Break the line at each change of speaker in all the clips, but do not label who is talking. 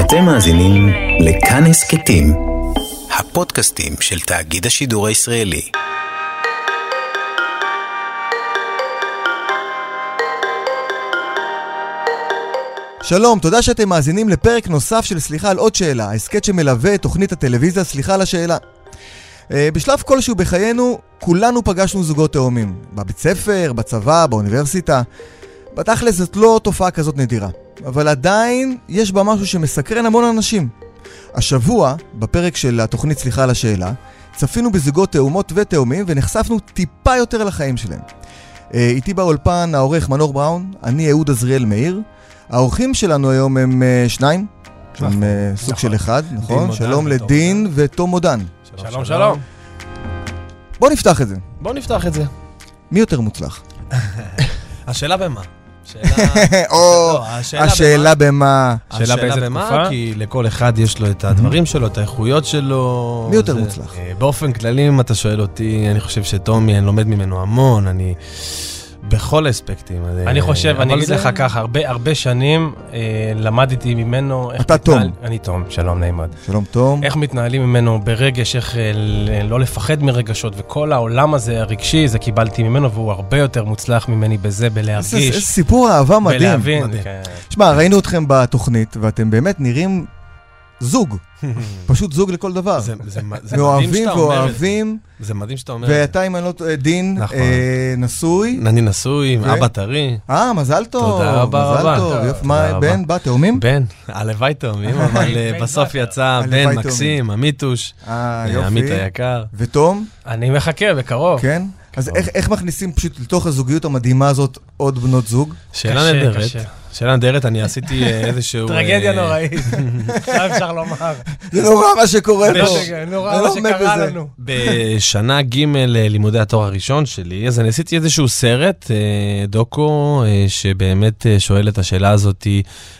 אתם מאזינים לכאן הסכתים, הפודקאסטים של תאגיד השידור הישראלי.
שלום, תודה שאתם מאזינים לפרק נוסף של סליחה על עוד שאלה, ההסכת שמלווה את תוכנית הטלוויזיה סליחה על השאלה. אה, בשלב כלשהו בחיינו, כולנו פגשנו זוגות תאומים. בבית ספר, בצבא, באוניברסיטה. בתכל'ס זאת לא תופעה כזאת נדירה. אבל עדיין יש בה משהו שמסקרן המון אנשים. השבוע, בפרק של התוכנית סליחה על השאלה, צפינו בזוגות תאומות ותאומים ונחשפנו טיפה יותר לחיים שלהם. אה, איתי באולפן העורך מנור בראון, אני אהוד עזריאל מאיר. האורחים שלנו היום הם אה, שניים, הם אה, סוג של אחד, נכון?
מודן
שלום
ותום
לדין ותום מודן.
שלום, שלום.
בואו נפתח את זה.
בואו נפתח את זה.
מי יותר מוצלח?
השאלה במה? שאלה...
אה, או,
לא,
השאלה במה?
השאלה באיזה תקופה? כי לכל אחד יש לו את הדברים שלו, את האיכויות שלו.
מי יותר
זה-
מוצלח?
אה, באופן כללי, אם אתה שואל אותי, אני חושב שטומי, אני לומד ממנו המון, אני... בכל האספקטים.
אני חושב, אני
אה, אבל
אגיד
זה-
לך ככה, הרבה הרבה שנים אה, למדתי ממנו איך...
אתה
מתנהל-
תום.
אני תום, שלום, נעים מאוד.
שלום תום.
איך מתנהלים ממנו ברגש, איך אה, ל- לא לפחד מרגשות, וכל העולם הזה הרגשי, זה קיבלתי ממנו, והוא הרבה יותר מוצלח ממני בזה,
איזה איזה
בלהרגיש,
סיפור אהבה מדהים.
בלהבין.
מדהים.
כן.
שמע, ראינו אתכם בתוכנית, ואתם באמת נראים זוג, פשוט זוג לכל דבר.
זה- זה מ- זה מדהים
מאוהבים
שאתה אומר את זה.
ואוהבים,
זה מדהים שאתה אומר את זה.
ואתה, אם אני לא טועה, דין,
נכון.
אה, נשוי.
אני נשוי עם
ו-
אבא טרי,
אה, מזל טוב.
תודה רבה
מזל
רבה.
טוב.
תודה
יופי, מה,
רבה.
בן, בת, תאומים?
בן, הלוואי תאומים, אבל אה, בסוף יצא
הלוואי
בן
תאומים.
מקסים, המיתוש,
אה,
אה,
יופי.
עמית היקר.
ותום,
אני מחכה, בקרוב.
כן? אז איך- איך מכניסים פשוט לתוך הזוגיות המדהימה הזאת עוד בנות זוג?
שאלה
קשה,
נהדרת,
קשה.
שאלה נהדרת, אני עשיתי אה, איזשהו...
טרגדיה
אה,
נוראית, מה אפשר לומר?
זה נורא מה שקורה פה.
נורא
אני
מה
לא עומד
שקרה
בזה.
לנו.
בשנה ג' אה, לימודי התואר הראשון שלי, אז אני עשיתי איזשהו סרט, אה, דוקו, אה, שבאמת אה, שואל את השאלה הזאת,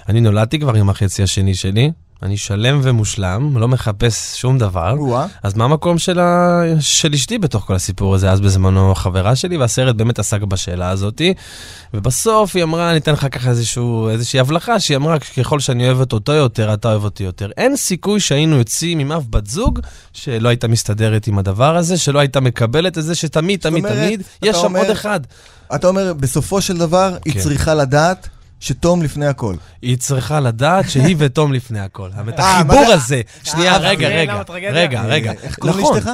אני נולדתי כבר עם החצי השני שלי, אני שלם ומושלם, לא מחפש שום דבר.
וואה.
אז מה המקום של, ה... של אשתי בתוך כל הסיפור הזה? אז בזמנו חברה שלי, והסרט באמת עסק בשאלה הזאתי. ובסוף היא אמרה, אני אתן לך ככה איזשהו, איזושהי הבלחה, שהיא אמרה, ככל שאני אוהבת אותו יותר, אתה אוהב אותי יותר. אין סיכוי שהיינו יוצאים עם אף בת זוג שלא הייתה מסתדרת עם הדבר הזה, שלא הייתה מקבלת את זה, שתמיד, תמיד,
אומרת,
תמיד,
אתה
יש שם
אומר-
עוד אחד.
אתה אומר, בסופו של דבר, היא
כן.
צריכה לדעת שתום לפני הכל.
היא צריכה לדעת שהיא ותום לפני הכל. את
אה,
החיבור
מה זה-
הזה. שנייה,
אבל
רגע,
אה, זה
רגע,
למה טרגדיה?
רגע, רגע.
אה, איך קוראים
נכון,
לאשתך?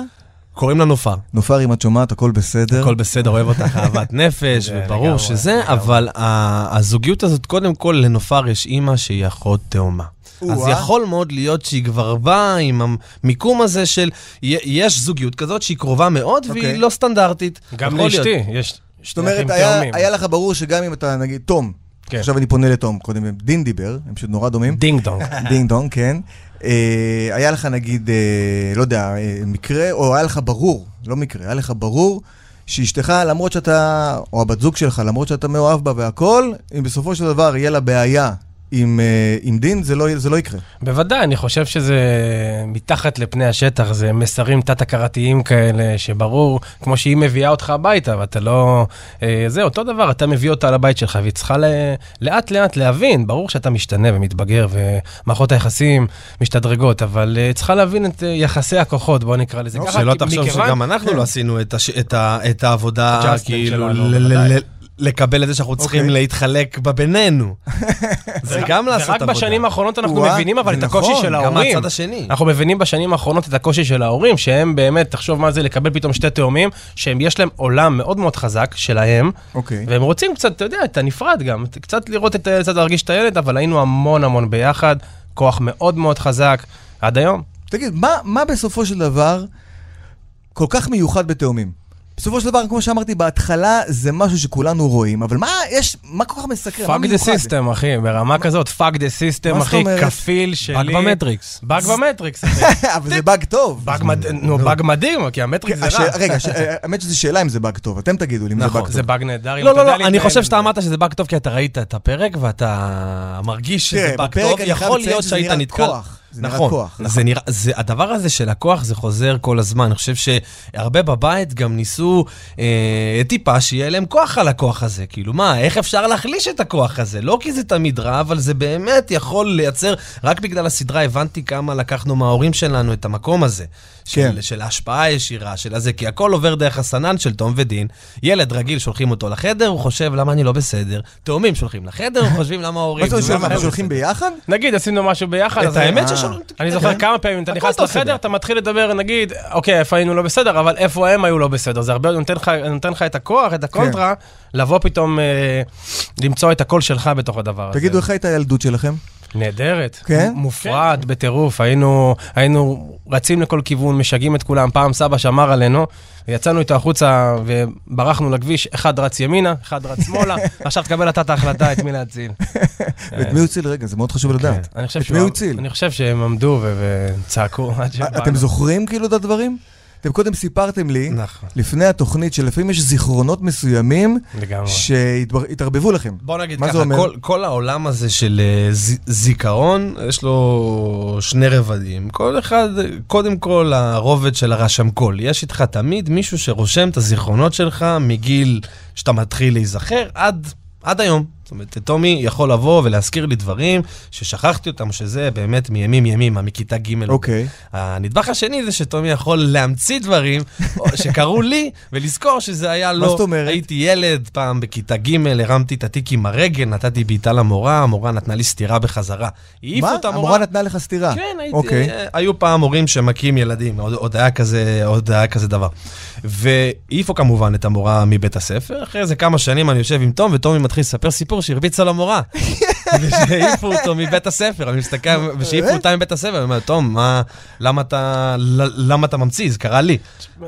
קוראים לה נופר.
נופר, אם את שומעת, הכל בסדר.
הכל בסדר, אוהב אותך אהבת נפש,
זה
וברור
לגמרי,
שזה,
לגמרי.
אבל ה- הזוגיות הזאת, קודם כל, לנופר יש אימא שהיא אחות תאומה. אז
או-אה.
יכול מאוד להיות שהיא כבר באה עם המיקום הזה של, י- יש זוגיות כזאת שהיא קרובה מאוד
אוקיי.
והיא לא סטנדרטית.
גם
יכול להיות.
לאשתי, יש
זאת
שני
אומרת,
אחים
היה-
תאומים.
היה לך ברור שגם אם אתה, נגיד, תום,
כן.
עכשיו אני פונה לתום, קודם דין דיבר, הם פשוט נורא דומים.
דינג דונג.
דינג דונג, כן. אה, היה לך נגיד, אה, לא יודע, אה, מקרה, או היה לך ברור, לא מקרה, היה לך ברור שאשתך, למרות שאתה, או הבת זוג שלך, למרות שאתה מאוהב בה והכול, אם בסופו של דבר יהיה לה בעיה עם, אה, עם דין, זה לא, זה לא יקרה.
בוודאי, אני חושב שזה מתחת לפני השטח, זה מסרים תת-הכרתיים כאלה, שברור, כמו שהיא מביאה אותך הביתה, ואתה לא... אה, זה אותו דבר, אתה מביא אותה לבית שלך, והיא צריכה לאט-לאט להבין, ברור שאתה משתנה ומתבגר, ומערכות היחסים משתדרגות, אבל אה, צריכה להבין את אה, יחסי הכוחות, בוא נקרא לזה ככה.
לא, שלא
כי
תחשוב
מכיוון- כן.
שגם אנחנו לא עשינו את הש- את ה- את העבודה,
Adjustment לא,
כאילו,
שלנו,
ל- ל-
בוודאי.
ל- לקבל את זה שאנחנו צריכים
אוקיי.
להתחלק בבינינו. זה גם לעשות עבודה.
ורק בשנים האחרונות אנחנו
וואה,
מבינים אבל
זה
את הקושי
נכון,
של
גם
ההורים.
מהצד השני.
אנחנו מבינים בשנים האחרונות את הקושי של ההורים, שהם באמת, תחשוב מה זה לקבל פתאום שתי תאומים, שהם יש להם עולם מאוד מאוד חזק שלהם,
אוקיי.
והם רוצים קצת, אתה יודע, את הנפרד גם, קצת לראות את הילד, קצת להרגיש את הילד, אבל היינו המון המון ביחד, כוח מאוד מאוד חזק, עד היום.
תגיד, מה, מה בסופו של דבר כל כך מיוחד בתאומים? בסופו של דבר, כמו שאמרתי בהתחלה, זה משהו שכולנו רואים, אבל מה יש, מה כל כך מסקרן? מה
פאק דה
כן, מיוחד?
סיסטם, אחי, ברמה כזאת, פאק דה סיסטם,
מה זאת
אחי,
אומרת?
כפיל שלי.
רק במטריקס.
באג במטריקס, אחי.
אבל זה באג טוב.
באג מד- נו, באג מדהים, כי המטריקס זה רע.
השאלה- אה, רגע, הש- האמת שזו שאלה אם זה באג טוב, אתם תגידו לי אם זה
נכון,
באג טוב.
זה באג נהדר. אם
לא,
אתה
לא,
יודע
לא, אני
להתנהל
חושב
עם
שאתה
זה.
אמרת שזה באג טוב, כי אתה ראית את הפרק ואתה מרגיש שזה
תראה,
באג
כן, בפרק
טוב,
אני חייב
יכול
לציין
להיות
שזה
שהיית
נראה
נתקל...
כוח. זה נראה
נכון,
כוח.
זה נראה, זה, הדבר הזה של הכוח זה חוזר כל הזמן. אני חושב שהרבה בבית גם ניסו אה, טיפה שיהיה להם כוח על הכוח הזה. כאילו מה, איך אפשר להחליש את הכוח הזה? לא כי זה תמיד רע, אבל זה באמת יכול לייצר, רק בגלל הסדרה הבנתי כמה לקחנו מההורים שלנו את המקום הזה.
כן.
של, של ההשפעה הישירה, של הזה, כי הכל עובר דרך הסנן של תום ודין. ילד רגיל, שולחים אותו לחדר, הוא חושב למה אני לא בסדר. תאומים שולחים לחדר, חושבים למה ההורים...
מה זאת אומרת,
למה
שולחים-
הם
שולחים
בסדר.
ביחד?
נגיד, עשינו משהו ביחד.
את
אז-
האמת
אה.
ששולחים...
אני
כן.
זוכר כמה פעמים, אתה
הכל
נכנס
אתה עושה
לחדר,
ביחד.
אתה מתחיל לדבר, נגיד, אוקיי, איפה היינו לא בסדר, אבל איפה הם היו לא בסדר. זה הרבה יותר נותן לך- נותן לך את הכוח,
כן.
את הקונטרה, לבוא פתאום, אה, למצוא את הקול שלך בתוך הדבר הזה.
תגידו, איך הייתה הילדות שלכם?
נהדרת.
כן?
מ- מופרעת, בטירוף. היינו, היינו רצים לכל כיוון, משגעים את כולם. פעם סבא שמר עלינו, יצאנו איתו החוצה וברחנו לכביש, אחד רץ ימינה, אחד רץ שמאלה, עכשיו תקבל אתה את ההחלטה את מי להציל.
ואת מי הוא הציל? רגע, זה מאוד חשוב לדעת.
אני חושב
את
שהוא-
מי הוא הציל? אה,
אני חושב שהם עמדו ו- וצעקו עד שבאנו.
אתם זוכרים כאילו את הדברים? אתם קודם סיפרתם לי,
נכון,
לפני התוכנית, שלפעמים יש זיכרונות מסוימים
לגמרי.
שהתערבבו לכם.
בוא נגיד
כן. מה זה
ככה,
אומר?
כל, כל העולם הזה של אה, ז, זיכרון, יש לו שני רבדים. כל אחד, אה, קודם כל הרובד של הרשם קול. יש איתך תמיד מישהו שרושם את הזיכרונות שלך מגיל שאתה מתחיל להיזכר עד, עד היום. זאת אומרת, טומי יכול לבוא ולהזכיר לי דברים ששכחתי אותם, שזה באמת מימים ימימה, מכיתה ג' או
אוקיי.
הנדבך השני זה שטומי יכול להמציא דברים או- שקרו לי, ולזכור שזה היה
מה
לא...
זאת אומרת?
הייתי ילד, פעם בכיתה ג', הרמתי את התיק עם הרגל, נתתי בעיטה למורה, המורה נתנה לי סטירה בחזרה. היא העיפה
מה?
אותה
המורה נתנה לך סטירה.
כן, הייתי,
אוקיי.
אה, היו פעם הורים שמכים ילדים, עוד, עוד, היה כזה, עוד היה כזה דבר. והעיפו כמובן את המורה מבית הספר, אחרי איזה כמה שנים אני יושב עם תום, ותומי מתחיל לספר סיפור שהרביץ על המורה. ושהעיפו אותו מבית הספר, אני מסתכל, ושהעיפו אותה מבית הספר, אני אומר, תום, מה, למה אתה, ל- למה אתה ממציא? זה קרה לי.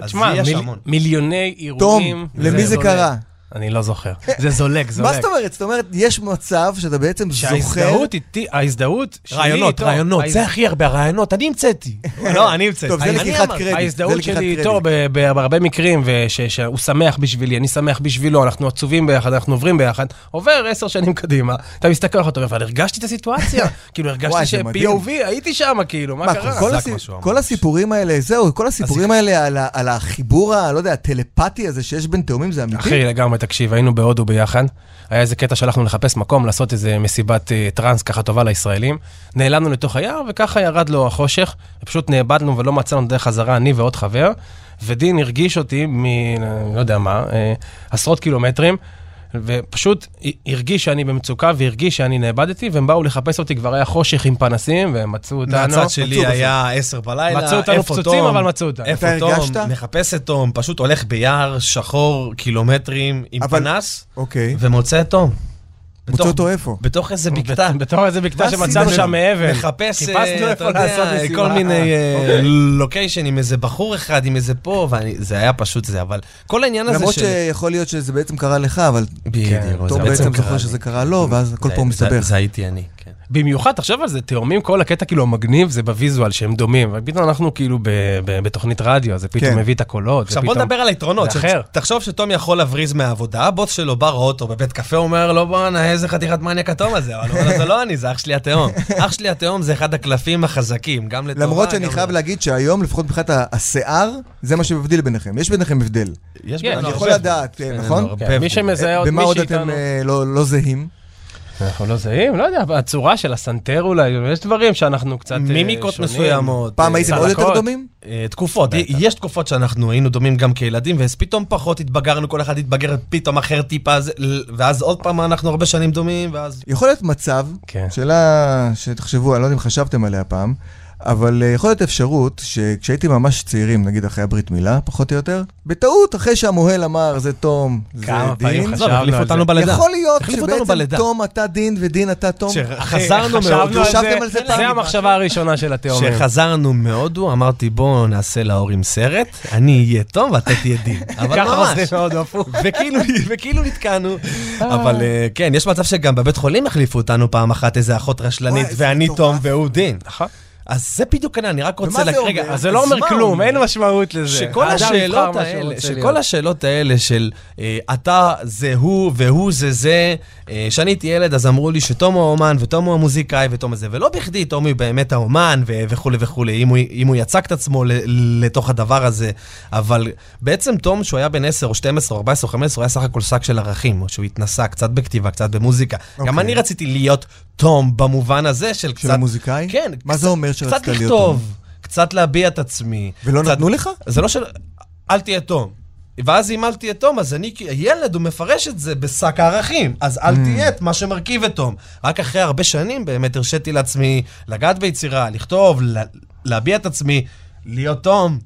אז
תשמע,
יש
מיל-
המון.
מיליוני אירועים.
תום, למי זה
זולג.
קרה?
אני לא זוכר. זה זולג, זולג.
מה זאת אומרת? זאת אומרת, יש מצב שאתה בעצם זוכר...
שההזדהות איתי, ההזדהות שלי
רעיונות,
איתו,
רעיונות, זה הכי הרבה הרעיונות, אני המצאתי. לא, אני המצאתי.
טוב, זה
אני
לקיחת
אמרתי.
קרדיט. זה
ההזדהות
לקיחת
שלי
קרדיט.
איתו ב- ב- בהרבה מקרים, ושהוא שמח בשבילי, אני שמח בשבילו, אנחנו עצובים ביחד, אנחנו עוברים ביחד, עובר עשר שנים קדימה, אתה מסתכל עליך, אתה אומר, אבל הרגשתי את הסיטואציה, כאילו
וואי,
הרגשתי
זה מדהים.
ש-POV, הייתי שם, כאילו, מה
מה,
קרה?
כל,
חזק
הסי...
מה שהוא אמר.
כל הסיפורים האלה, זהו, כל הסיפורים האלה על, ה... על החיבור, ה... לא יודע, הטלפתי הזה שיש בין תאומים, זה אמיתי?
כן.
אחי, לגמרי, תקשיב, היינו בהודו ביחד. היה איזה קטע שהלכנו לחפש מקום, לעשות איזה מסיבת אה, טראנס ככה טובה לישראלים. נעלמנו לתוך היער, וככה ירד לו החושך. פשוט נאבדנו ולא מצאנו דרך חזרה, אני ועוד חבר. ודין הרגיש אותי מ... לא יודע מה, אה, עשרות קילומטרים. ופשוט ה- הרגיש שאני במצוקה והרגיש שאני נאבדתי, והם באו לחפש אותי, כבר היה חושך עם פנסים, והם מצאו אותנו.
מהצד שלי
מצאו
היה עשר בלילה,
מצאו אותנו
איפה
פצוצים,
תום?
אבל מצאו אותנו.
איפה
אתה
תום?
הרגשת?
מחפש את תום, פשוט הולך ביער שחור, קילומטרים, עם
אבל-
פנס,
אוקיי.
ומוצא את תום.
מוצא
בתוך-
אותו איפה?
בתוך איזה בקתה.
בתור איזה בקתה
מה
שמצאנו
עשית?
שם מאבן.
מחפש, אה,
חיפשנו
אתה
איפה
יודע,
לעשות מסיבה.
כל מיני אה,
אוקיי.
לוקיישן עם איזה בחור אחד, עם איזה פה, וזה היה פשוט זה, אבל כל העניין הזה
למרות
של...
שיכול להיות שזה בעצם קרה לך, אבל
בדיוק,
תום
זה בעצם
בעצם
קרה
זוכר
לי.
שזה קרה לו, ואז הכל
זה-
פה
זה-
מסתבך.
זה הייתי אני, כן.
במיוחד, תחשוב על זה, תאומים, כל הקטע כאילו המגניב זה בוויזואל שהם דומים, ופתאום אנחנו כאילו ב- ב- בתוכנית רדיו, אז זה פתאום
כן.
מביא את הקולות.
עכשיו
ופתאום-
בוא נדבר על היתרונות.
זה
ש-
אחר.
תחשוב שתום יכול להבריז מהעבודה, הבוס שלו בא, רואה אותו בבית קפה, הוא אומר לו, בואנה, איזה חתיכת מניאק התום הזה, אבל הוא אומר לו, זה לא אני, זה אח שלי התהום. אח שלי התהום זה אחד הקלפים החזקים, גם לטובה,
למרות שאני
גם לא-
חייב
ל-
להגיד שהיום, לפחות מבחינת ה- השיער, זה מה שמבדיל ביניכם. יש ביניכם הבדל.
יש
כן,
בינינו
אני
הרבה
יכול
הבדל.
לדעת, אה,
בינינו
נכון?
הרבה
כן,
הבדל.
מי שמזהה עוד
במה עוד
מישהו
אתם
איתנו.
אה, לא לא זהים?
אנחנו לא זהים, לא יודע, הצורה של הסנטר אולי, יש דברים שאנחנו קצת אה, שונים.
מימיקות מסוימות.
פעם
אה,
הייתם עוד יותר
צלקות.
דומים?
אה, תקופות, י- יש תקופות שאנחנו היינו דומים גם כילדים, ואז פתאום פחות התבגרנו, כל אחד התבגר פתאום אחר טיפה, אז- ואז עוד פעם אנחנו הרבה שנים דומים, ואז...
יכול להיות מצב,
כן.
שאלה שתחשבו, אני לא יודע אם חשבתם עליה פעם, אבל אה, יכול להיות אפשרות שכשהייתם ממש צעירים, נגיד אחרי הברית מילה, פחות או יותר, בטעות, אחרי שהמוהל אמר, זה תום, זה
כמה פעמים
דין,
חשבנו
עזוב, החליף
על זה.
אותנו בלידה.
יכול להיות
החליף אותנו
שבעצם
בלידה.
תום אתה דין ודין אתה תום.
אחי,
שחזרנו
כן, חשבנו
מהודו,
על זה,
חשבתם על זה פעם?
זה המחשבה הראשונה של התאומים.
כשחזרנו מהודו, אמרתי, בואו נעשה להורים סרט, אני אהיה טוב ואתה תהיה דין. אבל
ככה
ממש.
עושים מהודו הפוך.
וכאילו, וכאילו נתקענו, אבל אה, כן, יש מצב שגם בבית חולים החליפו אותנו פעם אחת איזה אחות רשלנית,
וואי, איזה
ואני
מטורף.
תום והוא דין.
נכון.
אז זה בדיוק העניין, אני רק רוצה...
ומה זה
לק-
אומר?
רגע,
אז זה לא
אז
אומר
מה
כלום,
אומר?
אין משמעות לזה.
שכל
האדם יבחר
השאלות
מה שהוא
האלה,
רוצה
שכל
להיות.
השאלות האלה של אה, אתה זה הוא והוא זה זה, אה, כשאני הייתי ילד אז אמרו לי שתומו האומן ותומו המוזיקאי ותומו זה, ולא בכדי תומי הוא באמת האומן ו- וכולי וכולי, אם הוא, אם הוא יצק את עצמו ל- לתוך הדבר הזה, אבל בעצם תום, שהוא היה בן 10 או 12 או 14 או 15, הוא היה סך הכל שק של ערכים, או שהוא התנסה קצת בכתיבה, קצת במוזיקה.
אוקיי.
גם אני רציתי להיות תום במובן הזה של
של
קצת...
המוזיקאי?
כן,
מה זה אומר שרצית
קצת
להיות
לכתוב,
תום?
קצת להביע את עצמי.
ולא
קצת-
נתנו לך?
זה לא של... אל תהיה תום. ואז אם אל תהיה תום, אז אני, כי- הילד, הוא מפרש את זה בשק הערכים. אז
Mm.
אל תהיה את מה שמרכיב את תום. רק אחרי הרבה שנים באמת הרשיתי לעצמי לגעת ביצירה, לכתוב, לה, להביע את עצמי, להיות תום.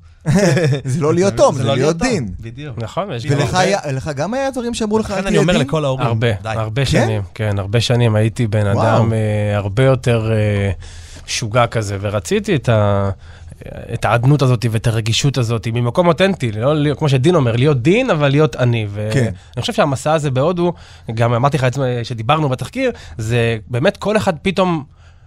זה לא להיות תום, זה
לא
להיות דין.
בדיוק.
נכון, יש
ולך
הרבה-
היה- לך גם היה דברים שאמרו לך, "אל
לכן אני
תהיה
אומר
דין"?
לכל ההורים,
הרבה,
די.
הרבה
כן?
שנים, כן, הרבה שנים הייתי בן
וואו.
אדם אה, הרבה יותר אה, משוגע כזה, ורציתי את ה... את העדנות הזאת ואת הרגישות הזאת ממקום אותנטי, לא, להיות- כמו שדין אומר, להיות דין אבל להיות אני. ו-
כן.
אני חושב שהמסע הזה בהודו, גם אמרתי לך את זה שדיברנו בתחקיר, זה באמת כל אחד פתאום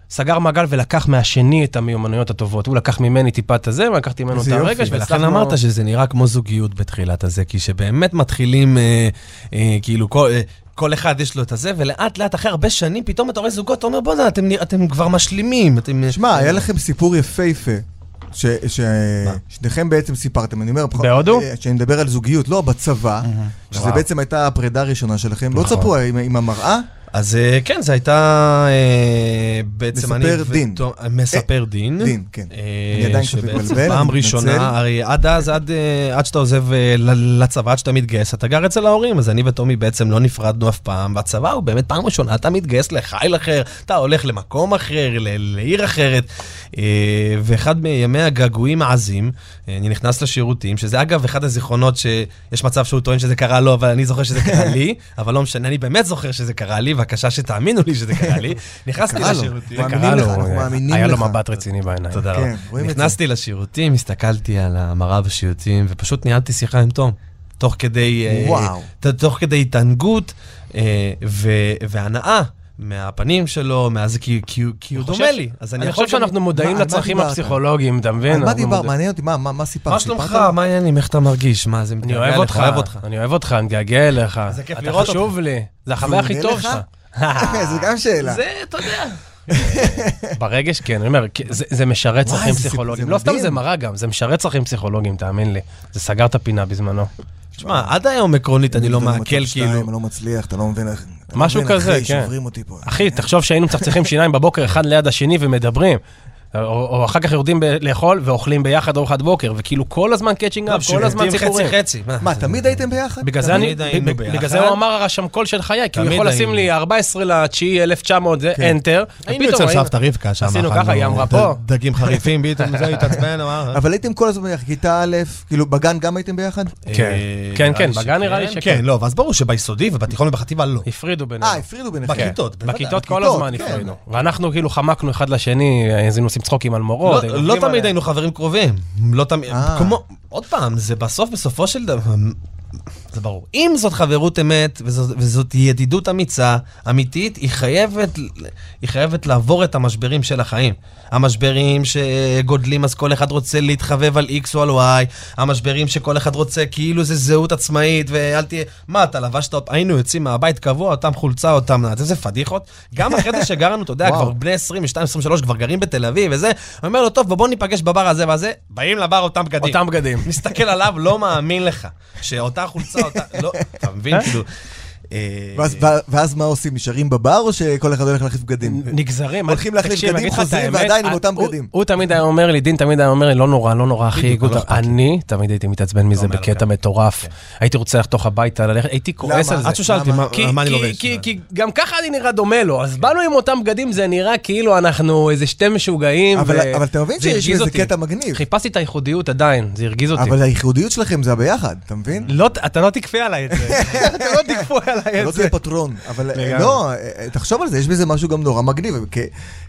סגר מעגל ולקח מהשני את המיומנויות הטובות. הוא לקח ממני טיפה את הזה, ולקחתי ממנו את
איזה יופי,
הרגש,
ולכן אמרת שזה נראה כמו זוגיות בתחילת הזה, כי שבאמת מתחילים, אה, אה, כאילו, כל... אה, כל אחד יש לו את הזה, ולאט לאט, אחרי הרבה שנים, פתאום אתה רואה זוגות, אתה אומר, בוא'נה, אתם, נרא- אתם כבר משלימים. אתם...
שמע, היה לכם סיפור יפהפה. ש- ש-
אה. מה?
שניכם בעצם סיפרתם, אני אומר, בכל-
בהודו?
אה, שאני מדבר על זוגיות, לא בצבא, שזה
וואו.
בעצם הייתה הפרידה הראשונה שלכם, לא
נכון.
צפו עם- עם המראה,
אז אה, כן, זו הייתה אה, בעצם... אני
מספר דין.
ותום- מספר דין.
דין, כן.
אה,
אני עדיין קצת מתבלבל,
שבעצם
אני
פעם
מתנצל.
ראשונה, הרי עד אז, עד, אה, עד שאתה עוזב אה, ל- לצבא, עד שאתה מתגייס, אתה גר אצל ההורים, אז אני וטומי בעצם לא נפרדנו אף פעם, והצבא הוא באמת פעם ראשונה, אתה מתגייס לחיל אחר, אתה הולך למקום אחר, ל- לעיר אחרת. אה, ואחד מימי הגעגועים העזים, אה, אני נכנס לשירותים, שזה אגב אחד הזיכרונות שיש מצב שהוא טוען שזה קרה לו, אבל אני זוכר שזה קרה לי, אבל לא משנה, אני באמת זוכר שזה קרה לי, בבקשה שתאמינו לי שזה קרה לי. נכנסתי
קרה לו.
לשירותים.
מאמינים
קרה
לך,
לו,
אנחנו מאמינים
היה לו
לך.
מבט רציני בעיניים.
תודה
כן,
רבה.
רואים את
נכנסתי לשירותים, הסתכלתי על המראה בשירותים, ופשוט ניהלתי שיחה עם תום. תוך כדי... אה,
וואו.
ת- תוך כדי התענגות אה, ו- והנאה. מהפנים שלו, מאז כי, כי, הוא- כי הוא
חושב-
דומה לי. אז
אני חושב שאנחנו
מה-
מודעים
על מה
לצרכים
דיברת?
הפסיכולוגיים, אתה מבין?
על מה
כן, אנחנו לא
דיבר?
מודעים.
מעניין אותי, מה- מה מה סיפרת?
מה שלומך? מה העניינים? איך אתה מרגיש? מה, זה
אני
מתגעגע
אוהב
לך,
אותך,
אוהב אותך.
אני אוהב אותך, אני מתגעגע אליך.
זה כיף לראות
אתה חשוב לי, זה החוויה
והוא
הכי
עונה
טוב
לך?
שלך.
אוקיי, זו גם שאלה.
זה, אתה יודע.
ברגש, כן, אני אומר, כי זה זה משרת
וואי,
צרכים
זה סיפ-
פסיכולוגיים.
זה
לא סתם
מדהים.
זה מראה גם, זה משרת צרכים פסיכולוגיים, תאמין לי. זה סגר את הפינה בזמנו.
תשמע, עד היום עקרונית אני לא
פתאום במצב
מעכל,
שתיים,
כאילו.
אני לא מצליח, אתה לא מבין איך... אתה
משהו
מבין,
כזה,
אחי,
כן.
שוברים אותי פה.
אחי, תחשוב שהיינו מצחצחים שיניים בבוקר אחד ליד השני ומדברים. או, או אחר כך יורדים ב- לאכול ואוכלים ביחד ארוחת בוקר, וכאילו כל הזמן קאצ'ינג אפ, כל הזמן סיפורים.
חצי-חצי.
מה, תמיד הייתם ביחד?
בגלל זה אני,
תמיד היינו
בג-
ביחד.
בגלל זה הוא אמר הרשמקול של חיי, כי הוא
תמיד
יכול לשים
היינו.
לי 14 לתשיעי 1900, זה
כן.
enter.
היינו
ופתאום
אצל
ראינו-
סבתא רבקה שם.
עשינו
אכלנו
ככה, היא אמרה
ד-
פה.
דגים חריפים, פתאום זה התעצבן, אמר...
אבל הייתם כל הזמן ביחד, כיתה א', כאילו בגן גם הייתם ביחד?
כן.
אה,
כן,
נראה
כן,
לי
בגן נראה לי שכן.
כן, לא, ואז ברור שביסודי ובתיכון ובחטיבה לא.
הפרידו בינינו.
אה, הפרידו ביניכם.
כן.
בכיתות, בוודאי, לא-
בכיתות כל
בכיתות,
הזמן
כן.
הפרידו. ואנחנו כאילו חמקנו אחד לשני, אז היינו עושים צחוקים על
לא-
מורות. היינו
לא
עובדים
תמיד
עליהם.
היינו חברים קרובים. לא תמיד,
אה.
כמו, עוד פעם, זה בסוף, בסופו של דבר, זה ברור. אם זאת חברות אמת וזאת וזאת ידידות אמיצה, אמיתית, היא חייבת, היא חייבת לעבור את המשברים של החיים. המשברים שגודלים אז כל אחד רוצה להתחבב על X או על Y, המשברים שכל אחד רוצה כאילו זה זהות עצמאית ואל תהיה... מה, אתה לבשת, היינו יוצאים מהבית קבוע, אותם חולצה, אותם... איזה פדיחות. גם אחרי זה שגרנו, אתה יודע,
וואו.
כבר בני 22, 23, כבר גרים בתל אביב וזה, אני אומר לו, טוב, בוא ניפגש בבר הזה והזה, באים לבר אותם בגדים.
אותם בגדים.
מסתכל עליו, לא מאמין לך, שאותה חולצה, אותה... לא, אתה מבין, כאילו... אה,
ואז- ו- ואז מה עושים? נשארים בבר או שכל אחד הולך להחליף בגדים?
נגזרים.
הולכים להחליף
תקשיב, אני
בגדים,
אגיד לך את
חוזרים,
האמת,
ועדיין עם
אה,
אותם
הוא-
בגדים.
הוא תמיד היה אומר לי, דין תמיד היה אומר לי, לא נורא, לא נורא, אחי,
בדיוק,
גוטה."
לא אכפת לי. לא
אני תמיד הייתי מתעצבן מזה
אומר כן. לו
בקטע
גם.
מטורף. הייתי רוצה ללכת לתוך הביתה, ללכת, הייתי כועס
למה?
על
אה,
זה.
עד ששאלתי,
למה?
מה-
כי-
מה אני
כי-
לובש?
כי- כי גם ככה אני נראה דומה לו, אז באנו עם אותם בגדים, זה נראה כאילו אנחנו איזה שתי משוגעים.
אבל
ו-
אבל אתה מבין
זה
שיש
הרגיז
איזה
אותי.
קטע מגניב.
חיפשתי את הייחודיות עדיין, זה הרגיז אותי.
אבל הייחודיות שלכם זה הביחד, אתה מבין?
לא, אתה לא תכפה עליי את זה. אתה לא תכפו עליי עליי
לא
את זה.
תהיה פטרון. אבל אה,
לגמרי.
לא, אה, תחשוב על זה, יש בזה משהו גם נורא מגניב. כ-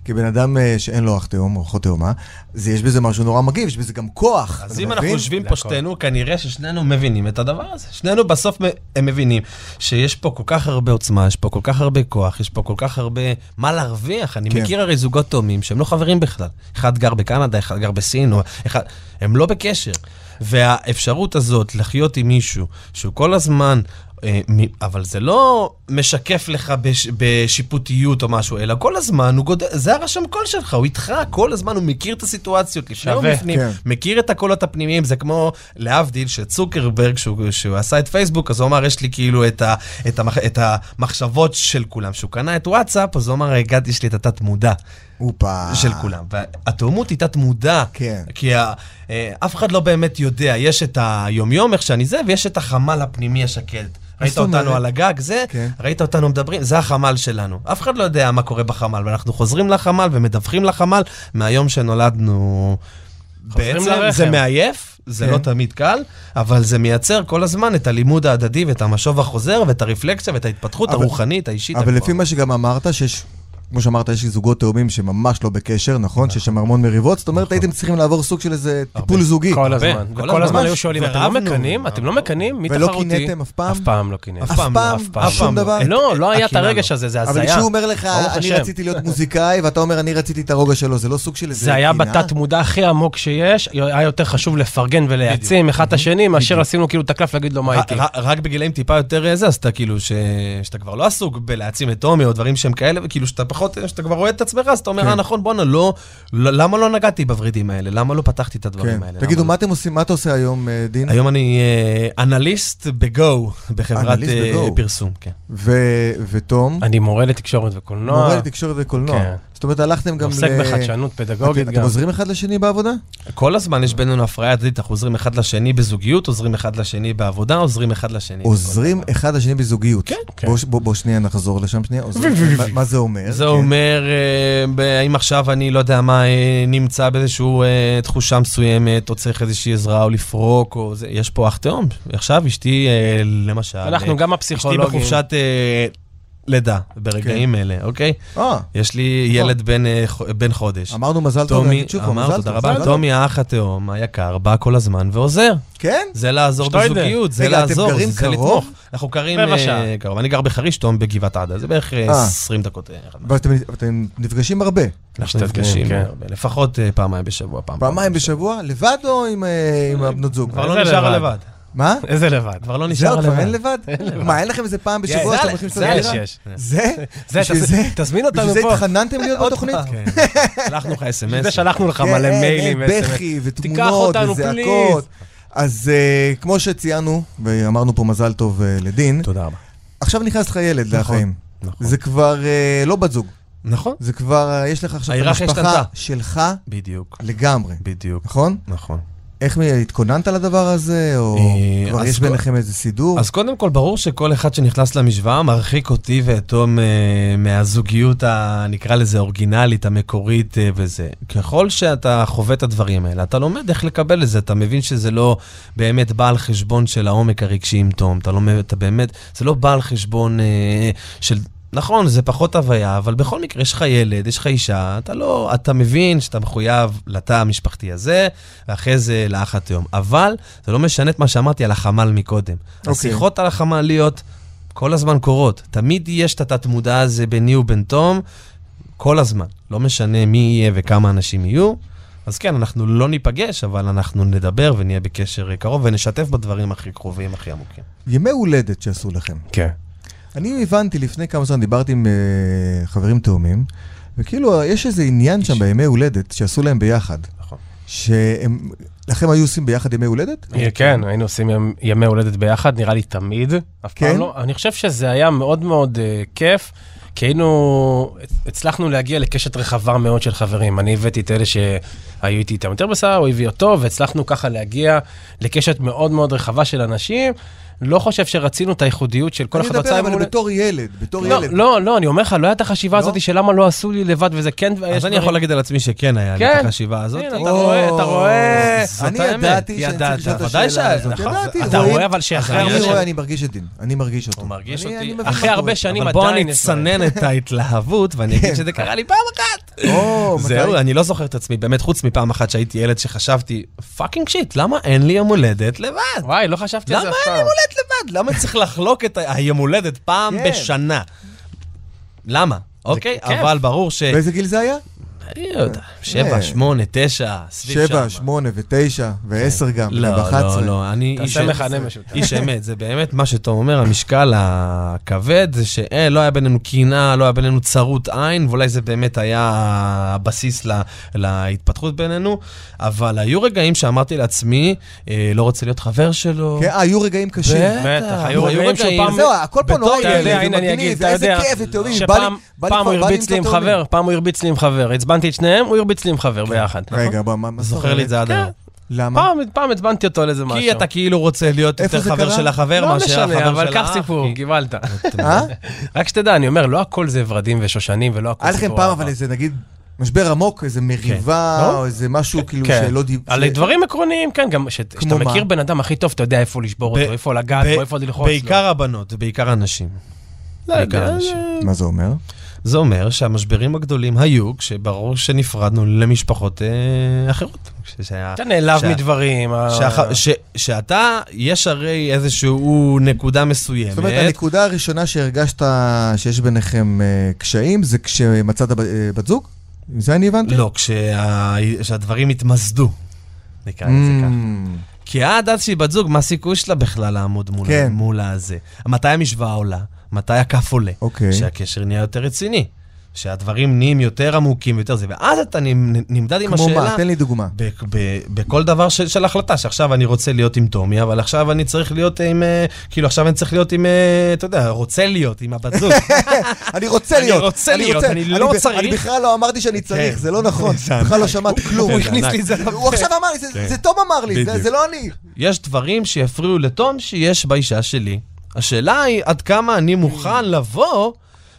כבן אדם אה, שאין לו אח תאום או אחות תאומה, אז יש בזה משהו נורא מגניב, יש בזה גם כוח.
אז
אתה
אם אנחנו
מבין?
יושבים פה
זה הכל.
שתינו, כנראה ששנינו מבינים את הדבר הזה. שנינו בסוף מ- הם מבינים שיש פה כל כך הרבה עוצמה, יש פה כל כך הרבה כוח, יש פה כל כך הרבה מה להרוויח. אני
כן.
מכיר הרי זוגות תאומים שהם לא חברים בכלל. אחד גר בקנדה, אחד גר בסין, או אחד... הם לא בקשר. והאפשרות הזאת לחיות עם מישהו שהוא כל הזמן... אה, מ- אבל זה לא משקף לך בש, בשיפוטיות או משהו, אלא כל הזמן הוא גודל, זה הרשם קול שלך, הוא איתך, כל הזמן הוא מכיר את הסיטואציות לפני
שווה.
ומפנים.
כן.
מכיר את הקולות הפנימיים, זה כמו להבדיל שצוקרברג, שהוא, שהוא עשה את פייסבוק, אז הוא אמר, יש לי כאילו את, ה, את, המח, את המחשבות של כולם. כשהוא קנה את וואטסאפ, אז הוא אמר, הגעתי, יש לי את התת-מודע
הופה.
של כולם. והתאומות היא תת-מודע,
אה. כן.
כי ה, אה, אף אחד לא באמת יודע, יש את היומיום, איך שאני זה, ויש את החמ"ל הפנימי השקט. ראית
זאת אומרת?
אותנו על הגג, זה,
כן.
ראית אותנו מדברים, זה החמ"ל שלנו. אף אחד לא יודע מה קורה בחמ"ל, ואנחנו חוזרים לחמ"ל ומדווחים לחמ"ל מהיום שנולדנו.
חוזרים
בעצם
לרחם.
זה מעייף, זה
כן.
לא תמיד קל, אבל זה מייצר כל הזמן את הלימוד ההדדי ואת המשוב החוזר ואת הרפלקציה ואת ההתפתחות
אבל-
הרוחנית, האישית.
אבל
הגבוהה.
לפי מה שגם אמרת, שיש, כמו שאמרת, יש זוגות תאומים שממש לא בקשר, נכון? שיש שם המון מריבות, זאת אומרת, הייתם צריכים לעבור סוג של איזה טיפול זוגי.
כל
נכון. הרבה,
הזמן.
כל
וכל
הזמן.
הזמן היו שואלים, אתם לא
ורבנו.
מקנאים? אתם לא מקנאים? מי
ולא
תחרותי?
קינאתם אף פעם?
אף פעם לא קינאתי.
אף פעם לא,
פעם?
אף פעם.
שום
לא.
דבר?
את-
לא, לא היה את
הקינה
הרגש
לא.
הזה, זה
אבל
הזיה.
כשהוא אומר לך,
ברוך
אני
השם.
רציתי להיות מוזיקאי, ואתה אומר, אני רציתי את הרוגע שלו, זה לא סוג של איזה...
זה היה
קינה?
בתת מודע הכי עמוק שיש, היה יותר חשוב לפרגן ולהעצים אחד את השני, מאשר לשים לו כאילו את הקלף להגיד לו מה איתי.
ר- רק בגילאים טיפה יותר אה, זה, אז אתה כאילו, ש- שאתה כבר לא עסוק בלהעצים את הומי או דברים שהם כאלה, וכאילו שאתה פחות, אה, שאתה כבר רואה את עצמך, אז אתה
כן.
אומר, אה נכון, בואנה, לא, לא- למה לא נגעתי בוורידים האלה? למה לא פתחתי את הדברים
כן.
האלה?
תגידו,
למה
מה אתם עושים, מה אתה עושה היום, אה, דין?
לא?" היום אני אה, אנליסט בגו, בחברת
אנליסט
אה,
ב-Go.
פרסום, כן.
ו- ותום?
אני מורה לתקשורת
לא-
וקולנוע.
מורה לתקשורת וקולנוע.
כן.
זאת אומרת, הלכתם גם ל...
עוסק בחדשנות פדגוגית
אתם- אתם
גם.
עוזרים אחד לשני בעבודה?
כל הזמן יש בינינו הפריה הדדית, אנחנו עוזרים אחד לשני בזוגיות, עוזרים אחד לשני בעבודה, עוזרים אחד לשני. בכל
עוזרים
דבר.
אחד לשני בזוגיות.
כן,
כן.
בוא ש- בוא בוא שנייה נחזור לשם שנייה. עוזרים. מה- מה זה אומר?
זה
כן.
אומר, אה, ב- האם עכשיו אני לא יודע מה, אה, נמצא באיזושהי תחושה מסוימת, או צריך איזושהי עזרה, או לפרוק, או זה, יש פה אח תאום. עכשיו אשתי, אה, למשל,
אנחנו
אה,
גם
אשתי
הפסיכולוגים.
בחופשת אה, לידה,
כן.
ברגעים אלה, אוקיי?
אה,
יש לי ילד בן, אה, ח- בן חודש.
אמרנו מזל טוב,
טומי,
נגיד שוב, פעם,
אמר,
מזל
תודה
טוב,
רבה,
מזל טוב.
טומי האח התאום היקר, בא כל הזמן ועוזר.
כן?
זה לעזור
שטוידר.
בזוגיות, זה
רגע, אתם
לעזור,
גרים
זה- זה
קרוב?
לתמוך. אנחנו גרים
רבע
אה,
שעה.
קרוב. אני גר בחריש, תום בגבעת עדה, זה בערך אה,
אה.
20 דקות. אה, אחד
ואתם אתם נפגשים הרבה.
אנחנו
משתדלים,
נפגשים
כן.
הרבה, לפחות אה, פעמיים בשבוע, פעם.
פעמיים בשבוע, לבד או עם אה, עם הבנות זוג?
כבר לא
זה
נשאר
לבד.
לבד.
מה?
איזה לבד.
כבר לא
זהו,
נשאר
כבר אין
לבד. כן,
לבד? מה, אין לכם איזה פעם בשבוע
זה
שאתם
עלי,
הולכים
זה
זה
לסדר
יש,
לבד.
יש.
זה?
זה,
בשביל
תז- תזמין
בשביל
אותנו
זה
פה.
התחננתם להיות בתוכנית?
כן. שלחנו לך אס.אם.אס.
זה שלחנו לך
כן,
מלא מיילים.
בכי
תיקח
ותמונות
אותנו,
וזעקות.
please.
אז אה, כמו שציינו, ואמרנו פה מזל טוב אה, לדין,
תודה רבה.
עכשיו נכנס לך ילד לחיים.
נכון.
זה כבר אה, לא בת זוג,
נכון.
זה כבר, אה, יש לך עכשיו את
ההיררכיה
המשפחה
השתנתה.
שלך
בדיוק.
נכון. לגמרי,
בדיוק.
נכון?
נכון.
איך מ- התכוננת לדבר הזה, או
אה,
כבר
אז
יש
כל-
ביניכם איזה סידור?
אז קודם כל, ברור שכל אחד שנכנס למשוואה מרחיק אותי ואת תום אה, מהזוגיות, ה- נקרא לזה אורגינלית, המקורית אה, וזה. ככל שאתה חווה את הדברים האלה, אתה לומד איך לקבל את זה, אתה מבין שזה לא באמת בא על חשבון של העומק הרגשי עם תום, אתה לומד, אתה באמת, זה לא בא על חשבון אה, של... נכון, זה פחות הוויה, אבל בכל מקרה, יש לך ילד, יש לך אישה, אתה לא, אתה מבין שאתה מחויב לתא המשפחתי הזה, ואחרי זה לאח התאום. אבל זה לא משנה את מה שאמרתי על החמ"ל מקודם.
אוקיי.
השיחות על החמ"ליות כל הזמן קורות. תמיד יש את התת-מודע הזה ביני ובין תום, כל הזמן. לא משנה מי יהיה וכמה אנשים יהיו. אז כן, אנחנו לא ניפגש, אבל אנחנו נדבר ונהיה בקשר קרוב ונשתף בדברים הכי קרובים, הכי עמוקים.
ימי הולדת שעשו לכם.
כן.
אני הבנתי לפני כמה זמן, דיברתי עם אה, חברים תאומים, וכאילו, אה, יש איזה עניין שם בימי הולדת שעשו להם ביחד,
נכון.
שהם, לכם היו עושים ביחד ימי הולדת?
כן, היינו עושים ימ- ימי הולדת ביחד, נראה לי תמיד, אף
כן?
פעם לא. אני חושב שזה היה מאוד מאוד אה, כיף, כי היינו, הצלחנו להגיע לקשת רחבה מאוד של חברים. אני הבאתי את אלה שהיו איתי איתם יותר בשר, הוא הביא אותו, והצלחנו ככה להגיע לקשת מאוד מאוד רחבה של אנשים, לא חושב שרצינו את הייחודיות של כל
אני
אחד
מדבר
רצה...
אבל
מול-
בתור ילד, בתור
לא,
ילד.
לא, לא, אני אומר לך, לא הייתה החשיבה
לא?
הזאת של למה לא עשו לי לבד וזה כן,
אז אני יכול להגיד על עצמי שכן היה לי
כן.
את החשיבה הזאת.
הנה, אתה רואה, אתה רואה.
זאת
אני
האמת,
ידעתי שאני
ידעת,
צריך לשאול את
ודאי
השאלה
שה-
הזאת.
נכון.
ידעתי,
אתה
רואים-
רואה אבל שאחרי
אני
הרבה
אני
חושב-
שנים,
רואה, אני מרגיש את דין. אני מרגיש אותו.
הוא מרגיש
אני- אני
אותי,
מבין מה
אחרי
קורה.
הרבה שנים
אבל
עדיין...
בוא אני
יש כן. לו-
אצנן את ההתלהבות, ואני אגיד שזה קרה לי פעם אחת.
או, מתי?
זהו, אני לא זוכר את עצמי, באמת, חוץ מפעם אחת שהייתי ילד שחשבתי, פאקינג שיט, למה אין לי יום הולדת לבד?
וואי, לא חשבתי על
למה
זה אף
אין יום
פעם.
הולדת לבד? למה צריך לחלוק את ה- היום הולדת פעם
כן.
בשנה? למה? אוקיי,
כיף.
אבל ברור ש...
באיזה גיל זה היה?
אני לא יודע, שבע,
אה.
שמונה, תשע, סביב שם.
שבע, שמונה ותשע ועשר גם,
לא,
ואחת עשרה.
לא, לא, אני איש...
תעשה מכנה משותף.
איש אמת, זה באמת מה שתום אומר, המשקל הכבד זה שלא היה בינינו קנאה, לא היה בינינו צרות עין, ואולי זה באמת היה הבסיס לה, להתפתחות בינינו, אבל היו רגעים שאמרתי לעצמי, אה, לא רוצה להיות חבר שלו.
כן, אה, היו רגעים קשים.
בטח, היו
היו
רגעים שהוא
רגעים.
פעם...
זהו, הכל פה נורא
אתה
ילד,
יודע,
זה
הנה אני
מגניב,
אגיד,
זה
אתה
איזה
יודע.
כיף, אתם יודעים, בא לי-
שפעם
בא לי
פעם
כבר- בא
הוא
לי
הרביץ לי עם
למצוא
חבר,
תאומים.
פעם הוא הרביץ לי עם חבר, עצבנתי את שניהם, הוא הרביץ לי עם חבר ביחד.
כן,
נכון?
רגע, בוא, מה מה זאת
זוכר לי את זה
כן.
עד היום.
למה?
פעם, פעם עצבנתי אותו על איזה משהו.
כי אתה כאילו רוצה להיות
איפה
יותר
זה
חבר
קרה?
של החבר
לא
מאשר החבר של האח.
משנה, אבל קח סיפור,
כי-
קיבלת.
אה?
רק שתדע, אני אומר, לא הכל זה ורדים ושושנים ולא הכל
היה לכם
סיפור
פעם
אהבה.
אבל איזה, נגיד, משבר עמוק, איזה מריבה,
ברור.
או איזה משהו כאילו
לא? כן.
שלא דיבר...
על דברים עקרוניים, כן, גם שאת- כשאתה
מה?
מכיר בן אדם הכי טוב, אתה יודע איפה לשבור
ב-
אותו, איפה לגעת
ב-
בו, איפה ללחוץ לו.
בעיקר הבנות, בעיקר הנשים.
לא יודע,
בעיקר הנשים.
מה זה אומר?
זה אומר שהמשברים הגדולים היו כשברור שנפרדנו למשפחות אה, אחרות. כששה-
אתה נעלב
שה-
מדברים. ה-
שהח- ש- שאתה, יש הרי איזשהו נקודה מסוימת.
זאת אומרת, הנקודה הראשונה שהרגשת שיש ביניכם אה, קשיים, זה כשמצאת ב- אה, בת זוג? זה אני הבנתי?
לא, כשה- כשהדברים התמסדו, נקרא לזה ככה.
Mm,
כי עד אז שהיא בת זוג, מה הסיכוי שלה בכלל לעמוד מול,
כן.
מול הזה? מתי המשוואה עולה? מתי הכף עולה?
אוקיי.
שהקשר נהיה יותר רציני. שהדברים נהיים יותר עמוקים, יותר זה. ואז אתה נמ- נמדד עם
כמו
השאלה...
מה? תן לי דוגמה.
ב- ב- בכל דבר של, של החלטה, שעכשיו אני רוצה להיות עם טומי, אבל עכשיו אני צריך להיות עם, אה, כאילו עכשיו אני צריך להיות עם, אה, אתה יודע, רוצה להיות עם הבת זוג.
אני רוצה
אני
להיות.
רוצה להיות, אני לא
ב-
צריך.
אני בכלל לא אמרתי שאני צריך,
כן.
זה לא נכון.
זה ענק.
בכלל לא שמעתי כלום.
הוא הכניס לי את זה לפה.
הוא עכשיו אמר לי, זה-
כן.
זה תום אמר לי, זה-
בדיוק.
זה לא אני.
יש דברים שיפריעו לתום שיש באישה שלי. השאלה היא עד כמה אני מוכן לבוא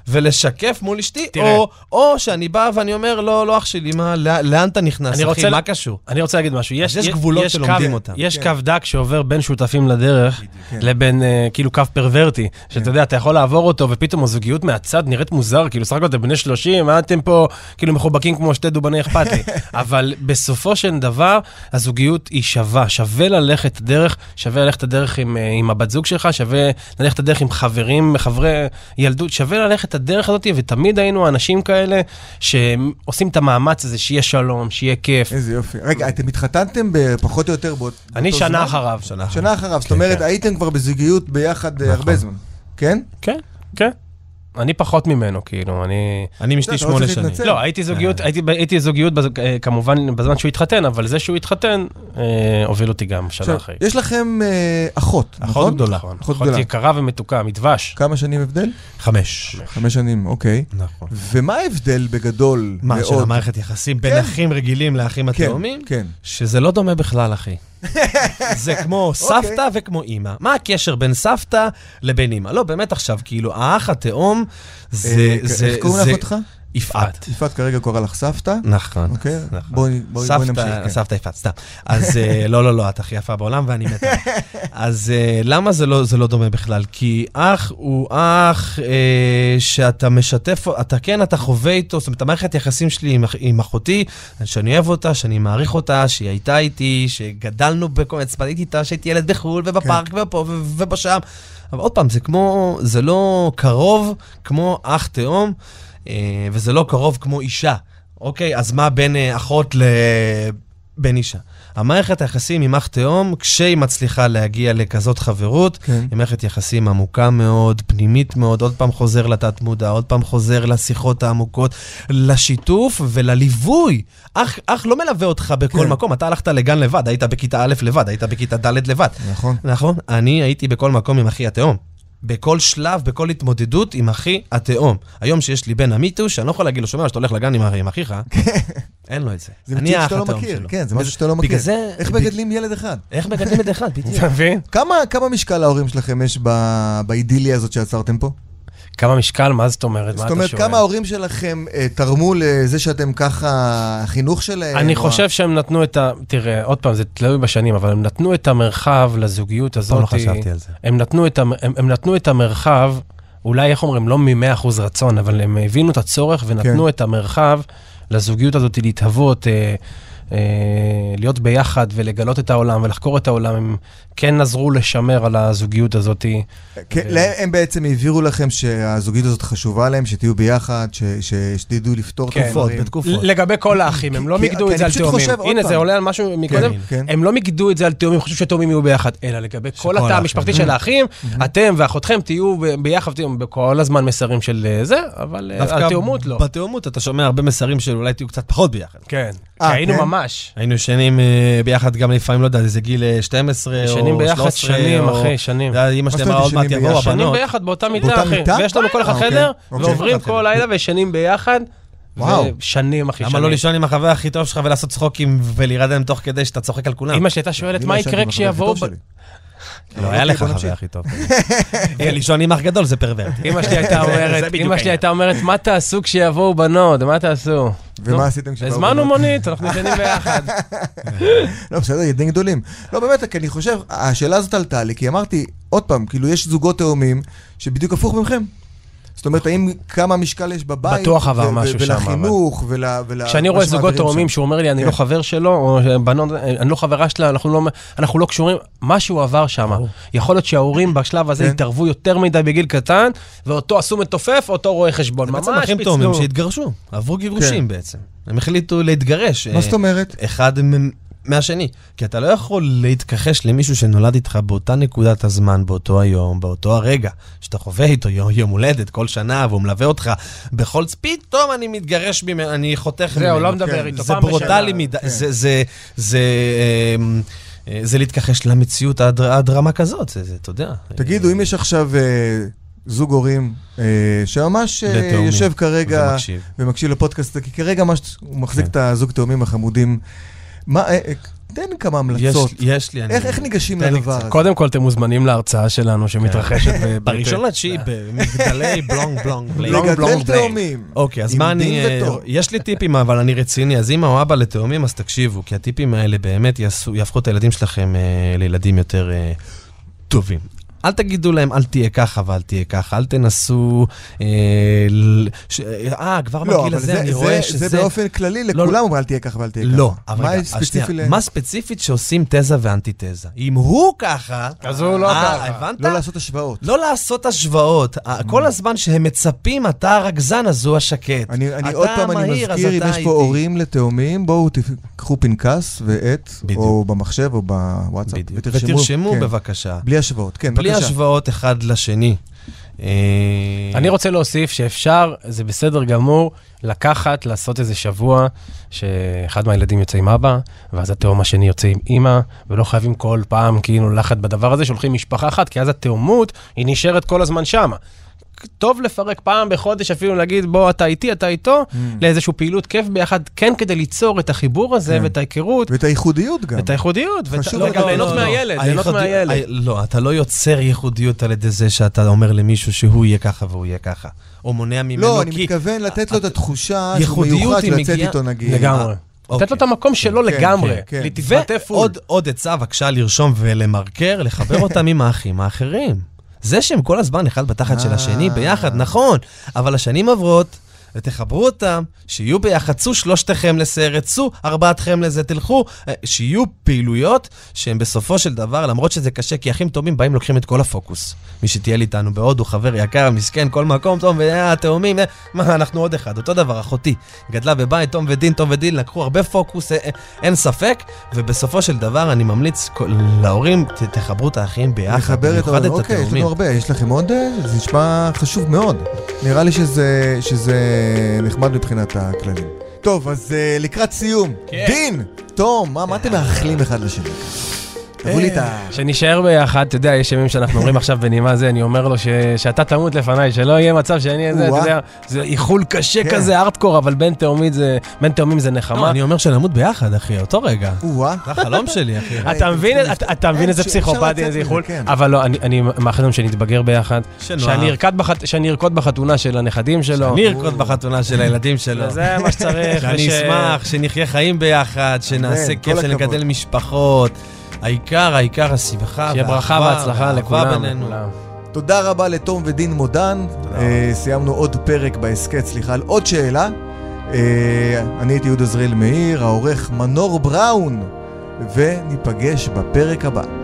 ולשקף מול אשתי,
תראה.
או, או שאני בא ואני אומר, לא, לא אח שלי, מה, לא- לאן אתה נכנס, אחי,
אני רוצה-
מה קשור?
אני רוצה להגיד משהו, יש,
יש גבולות שלומדים
קו,
אותם.
יש
כן.
קו דק שעובר בין שותפים לדרך
כן.
לבין אה, כאילו קו פרוורטי, שאתה יודע, אתה יכול לעבור אותו ופתאום הזוגיות מהצד נראית מוזר, כאילו סך הכל אתם בני 30, מה אתם פה כאילו מחובקים כמו שתי דובני אכפת לי, אבל בסופו של דבר הזוגיות היא שווה, שווה ללכת דרך, שווה ללכת הדרך עם, אה, עם הבת זוג שלך, שווה ללכת הדרך עם חברים, חברי ילדות, שווה ללכת את הדרך הזאת, ותמיד היינו אנשים כאלה שעושים את המאמץ הזה שיהיה שלום, שיהיה כיף.
איזה יופי. רגע, אתם התחתנתם פחות או יותר באותו זמן?
אני שנה אחריו. שנה
שנה אחריו,
כן,
זאת אומרת, הייתם כבר בזוגיות ביחד אה,
נכון.
הרבה זמן. כן?
כן, כן. אני פחות ממנו, כאילו, אני...
אני עם
לא,
אשתי
אתה לא
שמונה
צריך
שנים.
להתנצל.
לא, הייתי זוגיות, הייתי, ב- הייתי זוגיות בז, אה, כמובן בזמן שהוא התחתן, אבל זה שהוא התחתן אה, הוביל אותי גם שנה
עכשיו,
אחרי.
יש לכם אה, אחות,
אחות
נכון?
גדולה.
נכון,
אחות
אחות
גדולה.
יקרה ומתוקה, מדבש.
כמה שנים הבדל?
חמש.
חמש שנים, אוקיי.
נכון.
ומה ההבדל בגדול מאוד?
מה, של המערכת יחסים בין
כן.
אחים רגילים לאחים
כן,
התאומים?
כן.
שזה לא דומה בכלל, אחי. זה כמו
אוקיי.
סבתא וכמו אימא. מה הקשר בין סבתא לבין אימא? לא, באמת עכשיו, כאילו, האח התאום זה...
אה,
זה-
איך קוראים
זה-
לאחותך?
יפעת.
יפעת כרגע קורא לך סבתא.
נכון.
אוקיי,
נכון.
בואי בואי- בואי נמשיך.
סבתא,
כן.
סבתא יפעת, סתם. אז אה, לא, לא, לא, את הכי יפה בעולם ואני מתה. אז אה, למה זה לא, זה לא דומה בכלל? כי אח הוא אח אה, שאתה משתף, אתה כן, אתה חווה איתו, זאת אומרת, המערכת יחסים שלי עם, אח- עם אחותי, שאני אוהב אותה, שאני מעריך אותה, שהיא הייתה איתי, שגדלנו בכל מיני צפתית איתה, שהייתי ילד בחו"ל ובפארק ופה ו- ובשם. אבל עוד פעם, זה כמו, זה לא קרוב כמו אח תאום, אה, וזה לא קרוב כמו אישה. אוקיי, אז מה בין אה, אחות לבן אישה? המערכת היחסים עם אח תאום, כשהיא מצליחה להגיע לכזאת חברות,
כן.
היא מערכת יחסים עמוקה מאוד, פנימית מאוד, עוד פעם חוזר לתת מודע, עוד פעם חוזר לשיחות העמוקות, לשיתוף ולליווי. אח, אח לא מלווה אותך בכל
כן.
מקום, אתה הלכת לגן לבד, היית בכיתה א' לבד, היית בכיתה ד' לבד.
נכון.
נכון, אני הייתי בכל מקום עם אחי התאום. בכל שלב, בכל התמודדות עם אחי התאום. היום שיש לי בן המיטו, שאני לא יכול להגיד לו, שומע, שאתה הולך לגן עם אח- עם אחיך, אין לו את זה.
זה
אני
מציאות שאתה
האח
לא
התאום
מכיר,
שלו.
כן, זה משהו שאתה לא
בגלל
מכיר.
זה-
איך
ב-
מגדלים ילד אחד?
איך מגדלים את אחד,
כן.
בדיוק.
אתה מבין?
כמה כמה משקל ההורים שלכם יש ב- באידיליה הזאת שיצרתם פה?
כמה משקל, מה זאת אומרת? מה
זאת
אתה
אומרת,
שואל?
כמה ההורים שלכם אה, תרמו לזה שאתם ככה, החינוך שלהם?
אני
או
חושב שהם נתנו את ה... תראה, עוד פעם, זה תלוי בשנים, אבל הם נתנו את המרחב לזוגיות הזאת.
פעם לא חשבתי על זה.
הם נתנו את, המ... הם, הם נתנו את המרחב, אולי, איך אומרים, לא מ-100% רצון, אבל הם הבינו את הצורך ונתנו
כן.
כן. את המרחב לזוגיות הזאת להתהוות, אה, אה, להיות ביחד ולגלות את העולם ולחקור את העולם. הם כן עזרו לשמר על הזוגיות הזאת.
כן, להם- הם בעצם העבירו לכם שהזוגיות הזאת חשובה להם, שתהיו ביחד, ש- ש- שתדעו לפתור את
כן.
הדברים.
בתקופות.
לגבי כל האחים, הם לא
כי-
מיקדו
כי
את זה
אני
על
פשוט
תאומים.
חושב, עוד
הנה,
פעם.
זה עולה על משהו
כן,
מקודם.
כן.
הם לא מיקדו את זה על תאומים, חשבו שתאומים יהיו ביחד, אלא לגבי כל התא
האחים.
המשפחתי
Mm-hmm.
של האחים, אתם ואחותכם תהיו ב- ביחד, תהיו בכל הזמן מסרים של אה, זה, אבל אה,
דווקא
התאומות לא.
בתאומות אתה שומע הרבה מסרים של אולי תהיו קצת פחות ביחד.
כן, כי
אה,
היינו
כן?
ממש.
היינו ישנים אה, ביחד גם לפעמים, לא יודע, איזה גיל אה, 12 או 13.
ישנים ביחד שנים,
או-
אחי, שנים.
אתה יודע, אמא
מה
שלי
זאת
אמרה
אומרת
עוד מעט
ישנים
יבואו
ביחד?
שנים
הבנות.
ביחד באותה
באותה
מיטה, אחי.
מיטה?
ויש לנו כל אחד
אה,
חדר,
אוקיי,
ועוברים
אוקיי.
כל לילה וישנים ביחד.
וואו.
שנים, אחי,
למה
שנים.
לא לישון עם החבר הכי טוב שלך ולעשות צחוקים ולהירדם תוך כדי שאתה צוחק על כולם?
אמא שלי הייתה שואלת,
אני
מה
לא ישנתי
יקרה
עם החבר הכי
כשיבואו...
טוב
ב-
שלי. אוקיי,
לא, היה לך
בוא
חבר
נמשיך.
הכי טוב. לישון עם אח גדול זה פרוורט.
אמא שלי הייתה
זה- זה
אומרת,
בדיוק
אמא שלי
העניין.
הייתה אומרת, מה תעשו כשיבואו בנות? מה תעשו?
ומה
נו,
עשיתם כשבאו
הזמנו
בנות?
מונית, אנחנו ישנים ביחד.
לא, בסדר, ילדים גדולים. לא, באמת, כי אני חושב, השאלה הזאת עלתה לי, כי אמרתי, עוד פעם, כאילו, יש זוגות תאומים שבדיוק הפוך ממכם. זאת אומרת, האם כמה משקל יש בבית?
בטוח עבר
ו- ו-
משהו שם, אבל.
ולחינוך, ול... ול-
כשאני
מה
רואה
שמעבירים
זוגות
שם.
תאומים שהוא אומר לי, אני
כן.
לא חבר שלו, או בנות, אני לא חברה שלה, אנחנו לא- אנחנו לא קשורים, משהו עבר שם. יכול להיות שההורים בשלב הזה
כן.
התערבו יותר מדי בגיל קטן, ואותו עשו מתופף, אותו רואה חשבון. ממש
בעצם אחים
פיצלו.
תאומים שהתגרשו, עברו גירושים בעצם. הם החליטו להתגרש.
כן. מה
אה,
זאת אומרת?
אחד מ- מהשני. כי אתה לא יכול להתכחש למישהו שנולד איתך באותה נקודת הזמן, באותו היום, באותו הרגע, שאתה חווה איתו יום, יום הולדת כל שנה, והוא מלווה אותך בכל... פתאום אני מתגרש ממנו, אני חותך ממנו.
זהו, לא מדבר
כן.
איתו.
זה
פעם בשנה. כן.
ברוטלי מדי, זה- זה... זה... אמ, אה, זה להתכחש למציאות עד, עד רמה כזאת, זה, זה, אתה יודע.
תגידו, אם יש עכשיו אה, זוג הורים אה, שממש אה,
לתאומים.
יושב כרגע
ומקשיב.
ומקשיב לפודקאסט, כי כרגע ממש הוא מחזיק
כן.
את הזוג תאומים החמודים. מה, אה, אה, תן כמה
יש,
המלצות.
יש לי, אני...
איך איך ניגשים
תן לי
לדבר
קצת.
הזה?
קודם כל, אתם מוזמנים להרצאה שלנו שמתרחשת
כן.
ב-
בראשון לתשיעי, במגדלי בלונג בלונג בלונג.
לגדל תאומים.
אוקיי, אז
עם
מה
דין
אני...
ותור.
אה, יש לי טיפים, אבל אני רציני. אז אמא או אבא לתאומים, אז תקשיבו, כי הטיפים האלה באמת יעשו- יהפכו את הילדים שלכם אה, לילדים יותר אה, טובים. אל תגידו להם, אל תהיה ככה ואל תהיה ככה, אל תנסו... אה, ל- ש- אה, כבר
לא,
בגיל
אבל
הזה
זה,
אני
זה,
רואה
זה,
שזה...
באופן כללי,
לא,
לכולם אבל אל תהיה ככה ואל תהיה ככה.
לא, אבל
מה
רגע,
יש ספציפי
שנייה,
ל...
מה ספציפית שעושים תזה ואנטיתזה? אם הוא ככה...
אז הוא לא
אה,
ככה.
הבנת?
לא לעשות השוואות.
לא לעשות השוואות. ה-
Mm.
כל הזמן שהם מצפים, אתה הרקזן, אז הוא השקט.
אני, אני
לא, אתה
עוד פעם, אני
המהיר, אז
מזכיר, אם
אתה
יש
איטי.
פה הורים לתאומים, בואו תיקחו פנקס ועט,
בדיוק.
או במחשב או בוואטסאפ,
בדיוק. ותרשמו
כן.
בבקשה.
בלי השוואות, כן,
בלי
בבקשה.
השוואות אחד לשני. אה,
אני רוצה להוסיף שאפשר, זה בסדר גמור, לקחת, לעשות איזה שבוע, שאחד מהילדים יוצא עם אבא, ואז התאום השני יוצא עם אימא, ולא חייבים כל פעם כאילו לחת בדבר הזה, שהולכים משפחה אחת, כי אז התאומות, היא נשארת כל הזמן שמה. טוב לפרק פעם בחודש, אפילו להגיד, בוא, אתה איתי, אתה איתו,
Mm.
לאיזושהי פעילות כיף ביחד, כן כדי ליצור את החיבור הזה ואת ההיכרות.
ואת הייחודיות גם.
את הייחודיות, ואת-
כן. חשוב
לא,
לדעת.
גם ליהנות
לא, לא, לא.
מהילד, ליהנות
הייחודי-
מהילד.
הי- לא, אתה לא יוצר ייחודיות על ידי זה שאתה אומר למישהו שהוא יהיה ככה והוא יהיה ככה. או מונע ממנו,
לא, אני
כי... אה,
מתכוון לתת לו את התחושה שהוא
ייחודיות
מיוחד
היא
לצאת
מגיעה-
איתו נגיד.
לגמרי.
אוקיי.
לתת לו את המקום שלו
אה, כן,
לגמרי,
כן, כן.
להתבטא פול.
ועוד עוד עצה, בבקשה לרשום ולמרקר, לחבר אותם עם האחים האחרים. זה שהם כל הזמן אחד בתחת של השני
אה.
ביחד, נכון, אבל השנים עוברות, ותחברו אותם, שיהיו ביחד, צאו שלושתכם לסרט, צאו ארבעתכם לזה, תלכו, אה, שיהיו פעילויות שהן בסופו של דבר, למרות שזה קשה, כי אחים תאומים באים לוקחים את כל הפוקוס. מי שטייל איתנו בהודו, חבר יקר, מסכן, כל מקום, תום והתאומים, אה, מה, אנחנו עוד אחד, אותו דבר, אחותי. גדלה בבית, תום ודין, תום ודין, לקחו הרבה פוקוס, אה, אה, אין ספק, ובסופו של דבר אני ממליץ כל- להורים, ת- תחברו את האחים ביחד,
לחבר את
במיוחד
ההורים.
את
אוקיי, יש לנו
התאומים.
הרבה. יש לכם עוד? אה, זה נשמע חשוב מאוד. נראה לי שזה, שזה נחמד מבחינת הכללים. טוב, אז אה, לקראת סיום. דין, תום, מה מה אתם מאחלים אחד לשני? תבוא לי את ה...
שנישאר ביחד, אתה יודע, יש ימים שאנחנו אומרים עכשיו בנימה זה, אני אומר לו ש- שאתה תמות לפניי, שלא יהיה מצב שאני איזה, אתה
או-אה.
יודע, זה איחול קשה
כן.
כזה, ארטקור, אבל בין תאומית זה, בין תאומים זה נחמה.
לא, אני אומר שנמות ביחד, אחי, אותו רגע.
או-אה.
זה החלום שלי, אחי.
אתה מבין,
אין,
אתה- אתה מבין
אה, אין,
איזה
אפשר לצאת
פסיכופתי, איזה
מזה,
איחול?
כן.
אבל לא, אני- אני מאחל לנו שנתבגר ביחד,
שנאהב.
שאני ארקוד בחת- שאני ארקוד בחתונה של הנכדים שלו.
אני ארקוד בחתונה של הילדים שלו.
אוקיי. זה מה שצריך.
שאני
וש-
אשמח, שנחיה חיים ביחד, שנעשה
אמן,
כיף,
כל
שנגדל
הכבוד.
משפחות. העיקר, העיקר השמחה
שיהיה ברכה
והאחווה,
והצלחה
והאהבה
לכולם.
בינינו.
לכולם.
תודה רבה לתום ודין מודן. אה, סיימנו עוד פרק בהסכת, סליחה, על עוד שאלה. אה, אני הייתי יהודה זריאל מאיר, העורך מנור בראון, וניפגש בפרק הבא.